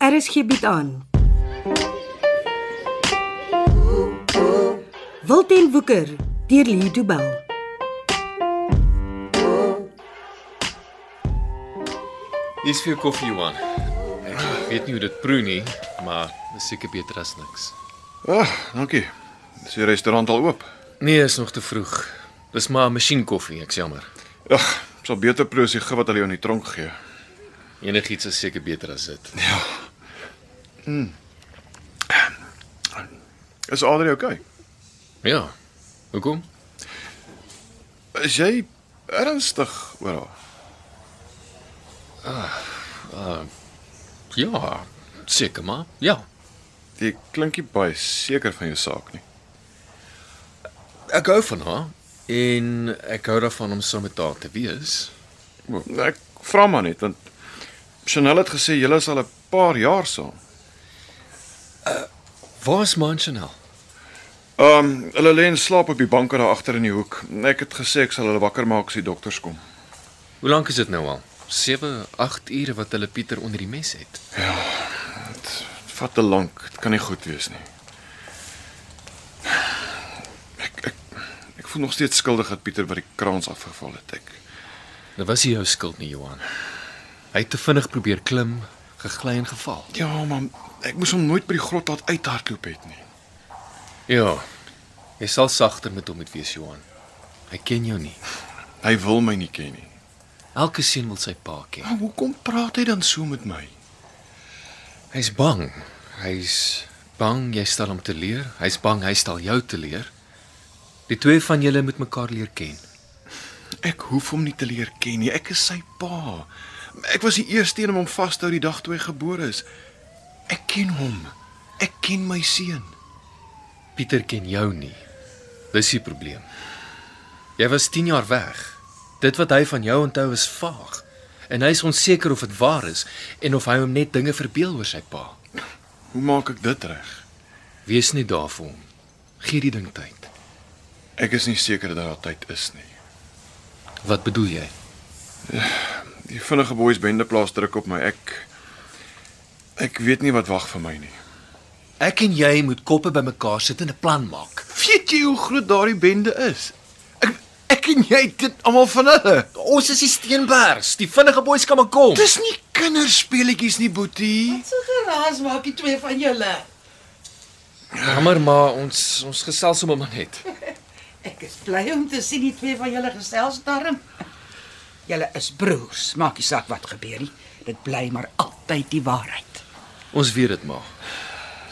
RSG bied Er aan. Wilten Woeker deur Lee Du Bell. Hier's vir jou koffie, Johan. Ek weet nie hoe dit proe nie, maar dis seker beter as niks. Ag, dankie. Is die restaurant al oop? Nee, is nog te vroeg. Dis maar 'n masjien koffie, ek's jammer. Ag, sal beter proe as die gif wat hulle jou in die tronk gee. Enigiets is seker beter as dit. Is Adrie okay? Ja. Hoekom? Is jy ernstig oor haar? Ja, seker maar. Ja. Jy klink nie baie seker van jou saak nie. Ek hou van haar en ek hou daarvan om saam met haar te wees. O, Ek vra maar net want Chanel het gesê julle is al 'n paar jaar saam. Waar is Manchanel? Ehm, um, hulle lê en slaap op die banke daar agter in die hoek. Ek het gesê ek sal hulle wakker maak as die dokters kom. Hoe lank is dit nou al? 7, 8 ure wat hulle Pieter onder die mes het. Dit vat te lank. Dit kan nie goed wees nie. Ek ek ek voel nog steeds skuldig dat Pieter by die kraans afgeval het. Ek Dit Nou was nie jou skuld nie, Johan. Hy het te vinnig probeer klim, gegly en geval. Ja, man, ek moes hom nooit by die grot laat uithardloop het nie. Ja. Jy sal sagter met hom moet wees, Johan. Hy ken jou nie. Hy wil my nie ken nie. Elke seun wil sy pa ken. Maar hoekom praat hy dan so met my? Hy's bang. Hy's bang jy stel hom te leer. Hy's bang hy stel jou te leer. Die twee van julle moet mekaar leer ken. Ek hoef hom nie te leer ken nie. Ek is sy pa. Ek was die eerste een om hom vas te hou die dag toe hy gebore is. Ek ken hom. Ek ken my seun. Pieter ken jou nie. Dis die probleem. Jy was 10 jaar weg. Dit wat hy van jou onthou is vaag en hy is onseker of dit waar is en of hy hom net dinge verbeel oor sy pa. Hoe maak ek dit reg? Wees nie daar vir hom. Gee die ding tyd. Ek is nie seker dat daar tyd is nie. Wat bedoel jy? Die vinnige boeis bende plaas druk op my. Ek ek weet nie wat wag vir my nie. Ek en jy moet koppe bymekaar sit en 'n plan maak. Weet jy hoe groot daardie bende is? Ek ek en jy dit almal van hulle. Ons is die Steenbergs. Die vinnige boeis kan maar kom. Dis nie kinderspeletjies nie, Boetie. So geraas maak die twee van julle. Jammer maar ons ons gesels sommer maar net. Ek is bly om te sien die twee van julle gesels daarom. Julle is broers, maak nie saak wat gebeur nie. Dit bly maar altyd die waarheid. Ons weet dit maar.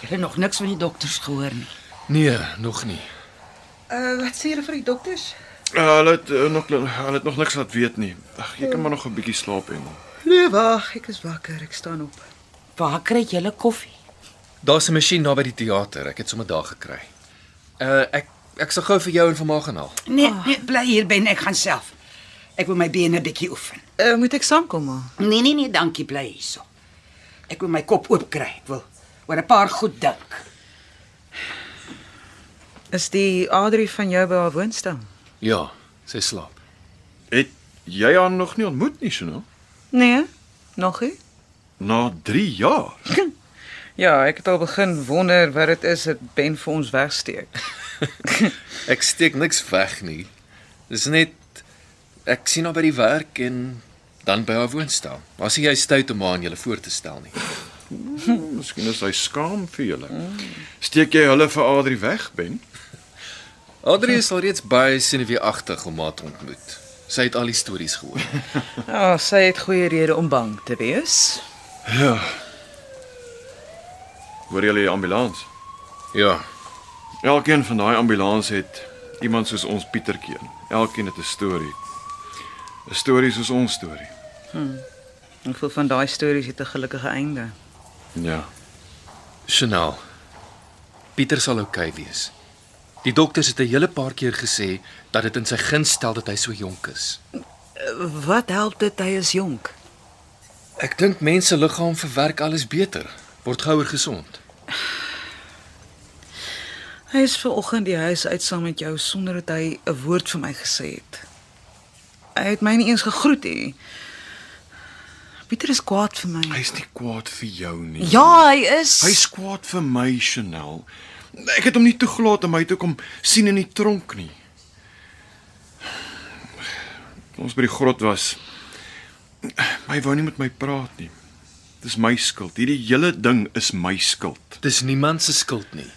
Julle nog niks van die dokters gehoor nie. Nee, nog nie. Uh, wat sê julle vir die dokters? Uh, hulle het uh, nog hulle het nog niks laat weet nie. Ag, jy kan maar nog 'n bietjie slaap en Nee, wag, ek is wakker. Ek staan op. Waar kry julle koffie? Daar's 'n masjien naby die teater. Ek het sommer daar gekry. Uh ek ek sal gou vir jou en vir Ma gaan haal. Nee, Ah. oh. nee, bly hier binne, ek gaan self. Ek wil my bene 'n bietjie oefen. Uh, moet ek saamkom maar? Nee, nee, nee, dankie, bly hierso. Ek wil my kop oop kry. Ek wil oor 'n paar goed dink. Is die Adri van jou by haar woonstel? Ja, sy slaap. Het jy haar nog nie ontmoet nie, Chanel? Nee, nog nie. Na 3 jaar. Ja, ek het al begin wonder wat dit is dat Ben vir ons wegsteek. Ek steek niks weg nie. Dis net ek sien haar by die werk en dan by haar woonstel. Maar sien jy stout om haar aan julle voor te stel nie. Nou, Miskien is hy skaam vir julle. Steek jy hulle vir Adri weg, Ben? Adrie is al reeds baie sinewiagtig om haar te ontmoet. Sy het al die stories gehoor. Ja, sy het goeie rede om bang te wees. Ja. Hoor julle die ambulans? Ja, Elkeen van daai ambulans het iemand soos ons Pietertjie in. Elkeen het 'n storie. 'n Storie soos ons storie. Hoeveel van daai stories het 'n gelukkige einde? Ja. Chanel. Pieter sal oukei okay wees. Die dokters het 'n hele paar keer gesê dat dit in sy guns stel dat hy so jonk is. Wat help dit hy is jonk? Ek dink mense liggaam verwerk alles beter, word gouer gesond. Hy is ver oggend die huis uit saam met jou sonder dat hy 'n woord vir my gesê het. Hy het my nie eens gegroet nie. Pieter is kwaad vir my. Hy's nie kwaad vir jou nie. Ja, hy is. Hy's kwaad vir my, Chanel. Ek het hom nie toegelaat om my toe kom sien in die tronk nie. Toe Ons by die grot was. My wou nie met my praat nie. Dis my skuld. Hierdie hele ding is my skuld. Dis niemand se skuld nie.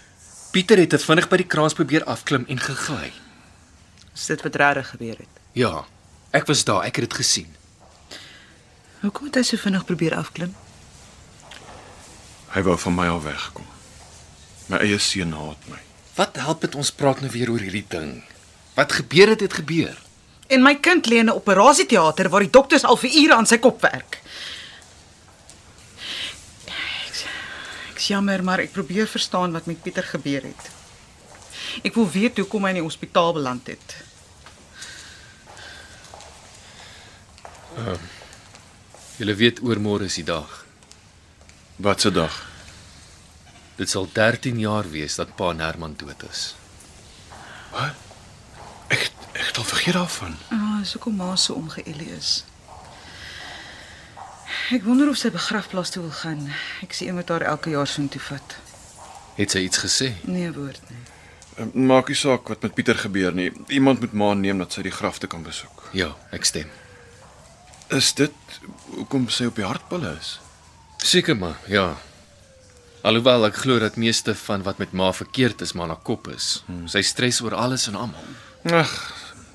Pieter het te vinnig by die kraans probeer afklim en gegly. Is dit wat regtig gebeur het? Ja, ek was daar, ek het dit gesien. Hoekom het hy so vinnig probeer afklim? Hy wou van my af wegkom. My eie seun haat my. Wat help dit ons praat nou weer oor hierdie ding? Wat gebeur het, het gebeur. En my kind lê in 'n operasieteater waar die dokters al vir ure aan sy kop werk. Ek's ek jammer, maar ek probeer verstaan wat met Pieter gebeur het. Ek wil weet hoekom hy in die hospitaal beland het. Jy weet oormôre is die dag. Wat 'n dag. Dit sal 13 jaar wees dat pa en Herman dood is. Ek het, ek het al vergeet daarvan. Ah, so kom ma so omgeëlle is. Ek wonder of sy begrafplaas toe wil gaan. Ek sien met haar elke jaar so intoe vat. Het sy iets gesê? Nee woord nie. Eh, Maak nie saak wat met Pieter gebeur nie. Iemand moet ma neem dat sy die graf te kan besoek. Ja, ek stem. Is dit hoekom sy op die hartpille is? Seker maar, ja. Alhoewel ek glo dat meeste van wat met ma verkeerd is, maar na kop is. Hmm. Sy stres oor alles en almal. Ag,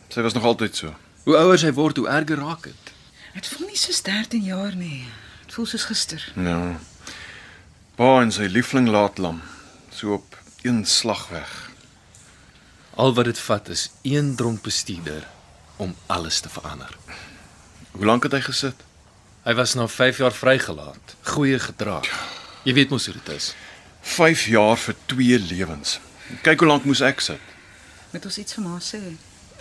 sy was nog altyd so. Hoe ouer sy word, hoe erger raak dit. Dit voel nie soos 13 jaar nie. Dit voel soos gister. Ja. Pa en sy liefling laat lam, so op een slag weg. Al wat dit vat is een dronk bestuurder om alles te verander. Hoe lank het hy gesit? Hy was na 5 jaar vrygelaat. Goeie gedrag. Jy weet mos hoe dit is. 5 jaar vir twee lewens. Kyk hoe lank moes ek sit. Moet ons iets vir ma sê?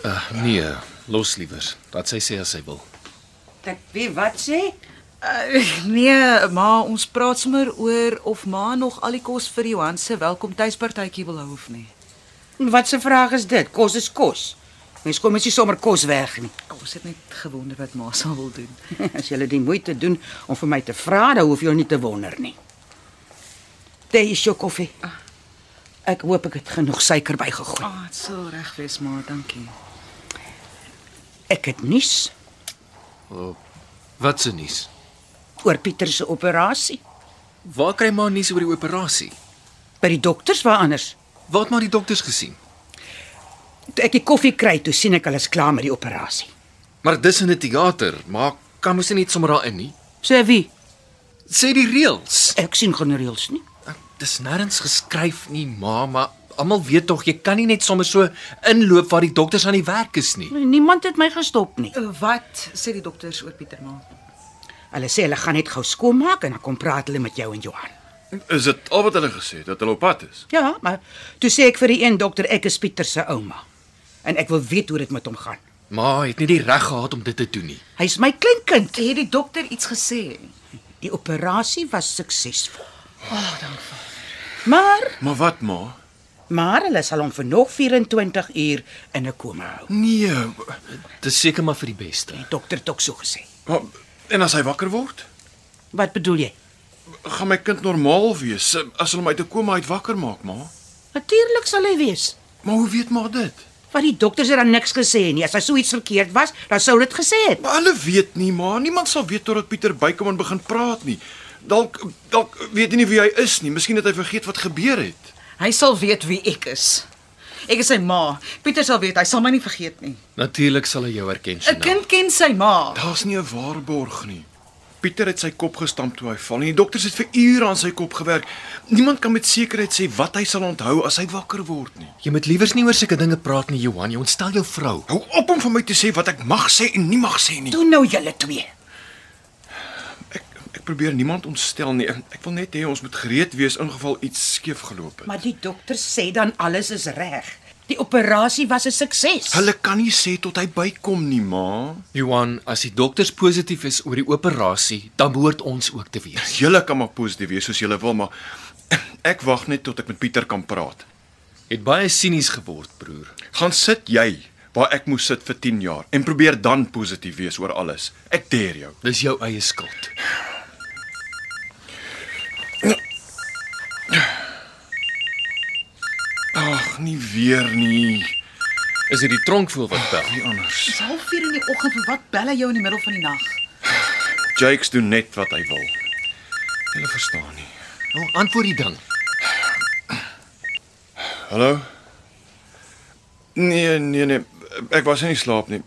Uh, nee, los liewers. Laat sy sê as sy wil. Ek weet wat sê? Uh, nee, ma, ons praat sommer oor of ma nog al die kos vir Johan se welkom tuispartytjie wil hou of nie. Wat 'n vraag is dit? Kos is kos. Mens kom mens nie sommer kos weg nie. Oh, Ons het net gewonder wat ma sal wil doen. As jy die moeite doen om vir my te vra, dan hoef jy nie te wonder nie. Tee is jou koffie. Ek hoop ek het genoeg suiker bygegooi. Ah, oh, dit sal reg wees, ma, dankie. Ek het nuus Oh, wat se nuus? oor Pieter se operasie. Waar kry maar nuus oor die operasie? By die dokters waar anders. Waar het maar die dokters gesien? Toe ek die koffie kry, toe sien ek hulle is klaar met die operasie. Maar dis in 'n teater, maar kan mos nie net sommer daarin nie. Sê wie? Sê die reëls. Ek sien geen reëls nie. Ek- Dis nêrens geskryf nie, ma, maar almal weet tog jy kan nie net sommer so inloop waar die dokters aan die werk is nie. Niemand het my gestop nie. Uh, Wat sê die dokters oor Pieter ma? Hulle sê hulle gaan net gou skoonmaak en dan kom praat hulle met jou en Johan. Is dit al wat hulle gesê het dat hulle op pad is? Ja, maar toe sê ek vir die een dokter ek is Pieter se ouma en ek wil weet hoe dit met hom gaan. Ma het nie die reg gehad om dit te doen nie. Hy's my kleinkind. Het die dokter iets gesê? Die operasie was suksesvol. Ag, Ah, dankie. Maar Maar wat ma? maar hulle sal hom vir nog 24 uur in 'n koma hou. Nee. Dis seker maar vir die beste. Die dokter het ook so gesê. Maar, en as hy wakker word, Wat bedoel jy? gaan my kind normaal wees as hulle my uit 'n koma uit wakker maak, ma. Natuurlik sal hy wees. Maar hoe weet maar dit? Want die dokters het dan niks gesê nie. As hy so iets verkeerd was, dan sou dit gesê het. Maar hulle weet nie, maar niemand sal weet totdat Pieter bykom en begin praat nie. Dalk dalk weet hy nie wie hy is nie. Miskien het hy vergeet wat gebeur het. Hy sal weet wie ek is. Ek is sy ma. Pieter sal weet, hy sal my nie vergeet nie. Natuurlik sal hy jou herken, 'n Chanel. Kind ken sy ma. Daar's nie 'n waarborg nie. Pieter het sy kop gestamp toe hy val en die dokters het vir ure aan sy kop gewerk. Niemand kan met sekerheid sê wat hy sal onthou as hy wakker word nie. Jy moet liewers nie oor sulke dinge praat nie, Johan. Jy ontstel jou vrou. Hou op om vir my te sê wat ek mag sê en nie mag sê nie. Doen nou julle twee. Ek ek probeer niemand ontstel nie. Ek, ek wil net hê ons moet gereed wees ingeval iets skeef geloop het. Maar die dokters sê dan alles is reg. Die operasie was 'n sukses. Hulle kan nie sê tot hy bykom nie, ma. Johan, as die dokters positief is oor die operasie, dan behoort ons ook te wees. Julle kan maar positief wees soos julle wil, maar ek wag net tot ek met Pieter kan praat. Het baie sinies geword, broer. Gaan sit jy. waar ek moes sit vir 10 jaar en probeer dan positief wees oor alles. Ek deer jou. Dis jou eie skuld. Ag, nie weer nie. Is dit die tronkvoel wat bel? Wie anders? Dis 04:30 in die oggend, vir wat bel hy jou in die middel van die nag? Jakes doen net wat hy wil. Hulle verstaan nie. Nou antwoord die ding. Hallo? Nee, nee, nee. Ek was nie in slaap nie.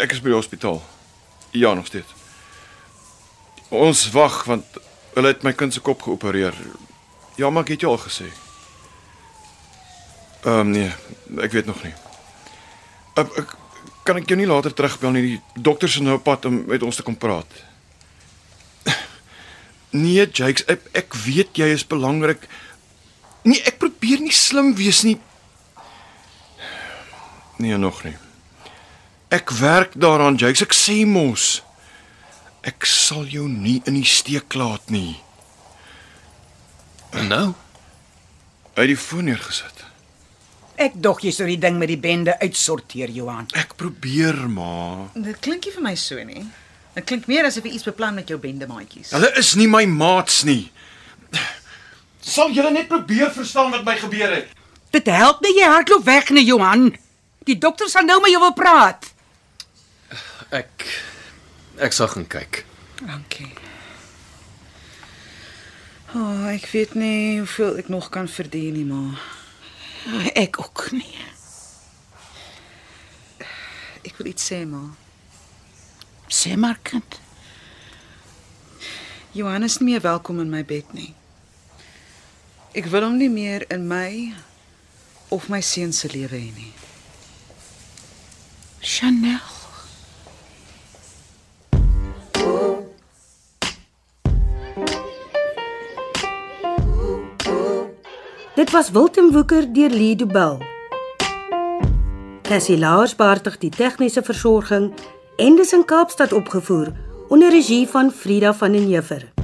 Ek is by die hospitaal. Ja, nog steeds. Ons wag want hulle het my kind se kop geopereer. Ja, maar ek het jou al gesê. Ehm um, nee, ek weet nog nie. Ek, Ehm, ek kan ek jou nie later terugbel nie. Die dokters is nou op pad om met ons te kom praat. Nee, Jakes, ek, ek weet jy is belangrik. Nee, ek probeer nie slim wees nie. Nee, nog nie. Ek werk daaraan, Jakes. Ek sê mos. Ek sal jou nie in die steek laat nie. En nou? Hy het die foon neergesit. Ek dog jy sou die ding met die bende uitsorteer, Johan. Ek probeer, ma. Dit klink nie vir my so nie. Dit klink meer asof jy iets beplan met jou bendemaatjies. Hulle is nie my maats nie. Sal julle net probeer verstaan wat my gebeur het? Dit help nie jy hardloop weg nie, Johan. Die dokter sal nou met jou wil praat. Ek ek sal gaan kyk. Dankie. O, oh, ek weet nie hoeveel ek nog kan verdien nie, maar Ek ook nie. ek wil iets sê, maar Sê maar kind. Johan is nie meer welkom in my bed nie. Ek wil hom nie meer in my of my seun se lewe hê nie. Chanel. Dit was Wilten Woeker deur Lee Du Bell. Cassie Lars beheerdig die tegniese versorging en dis in Kaapstad opgevoer onder regie van Frida van den Heever.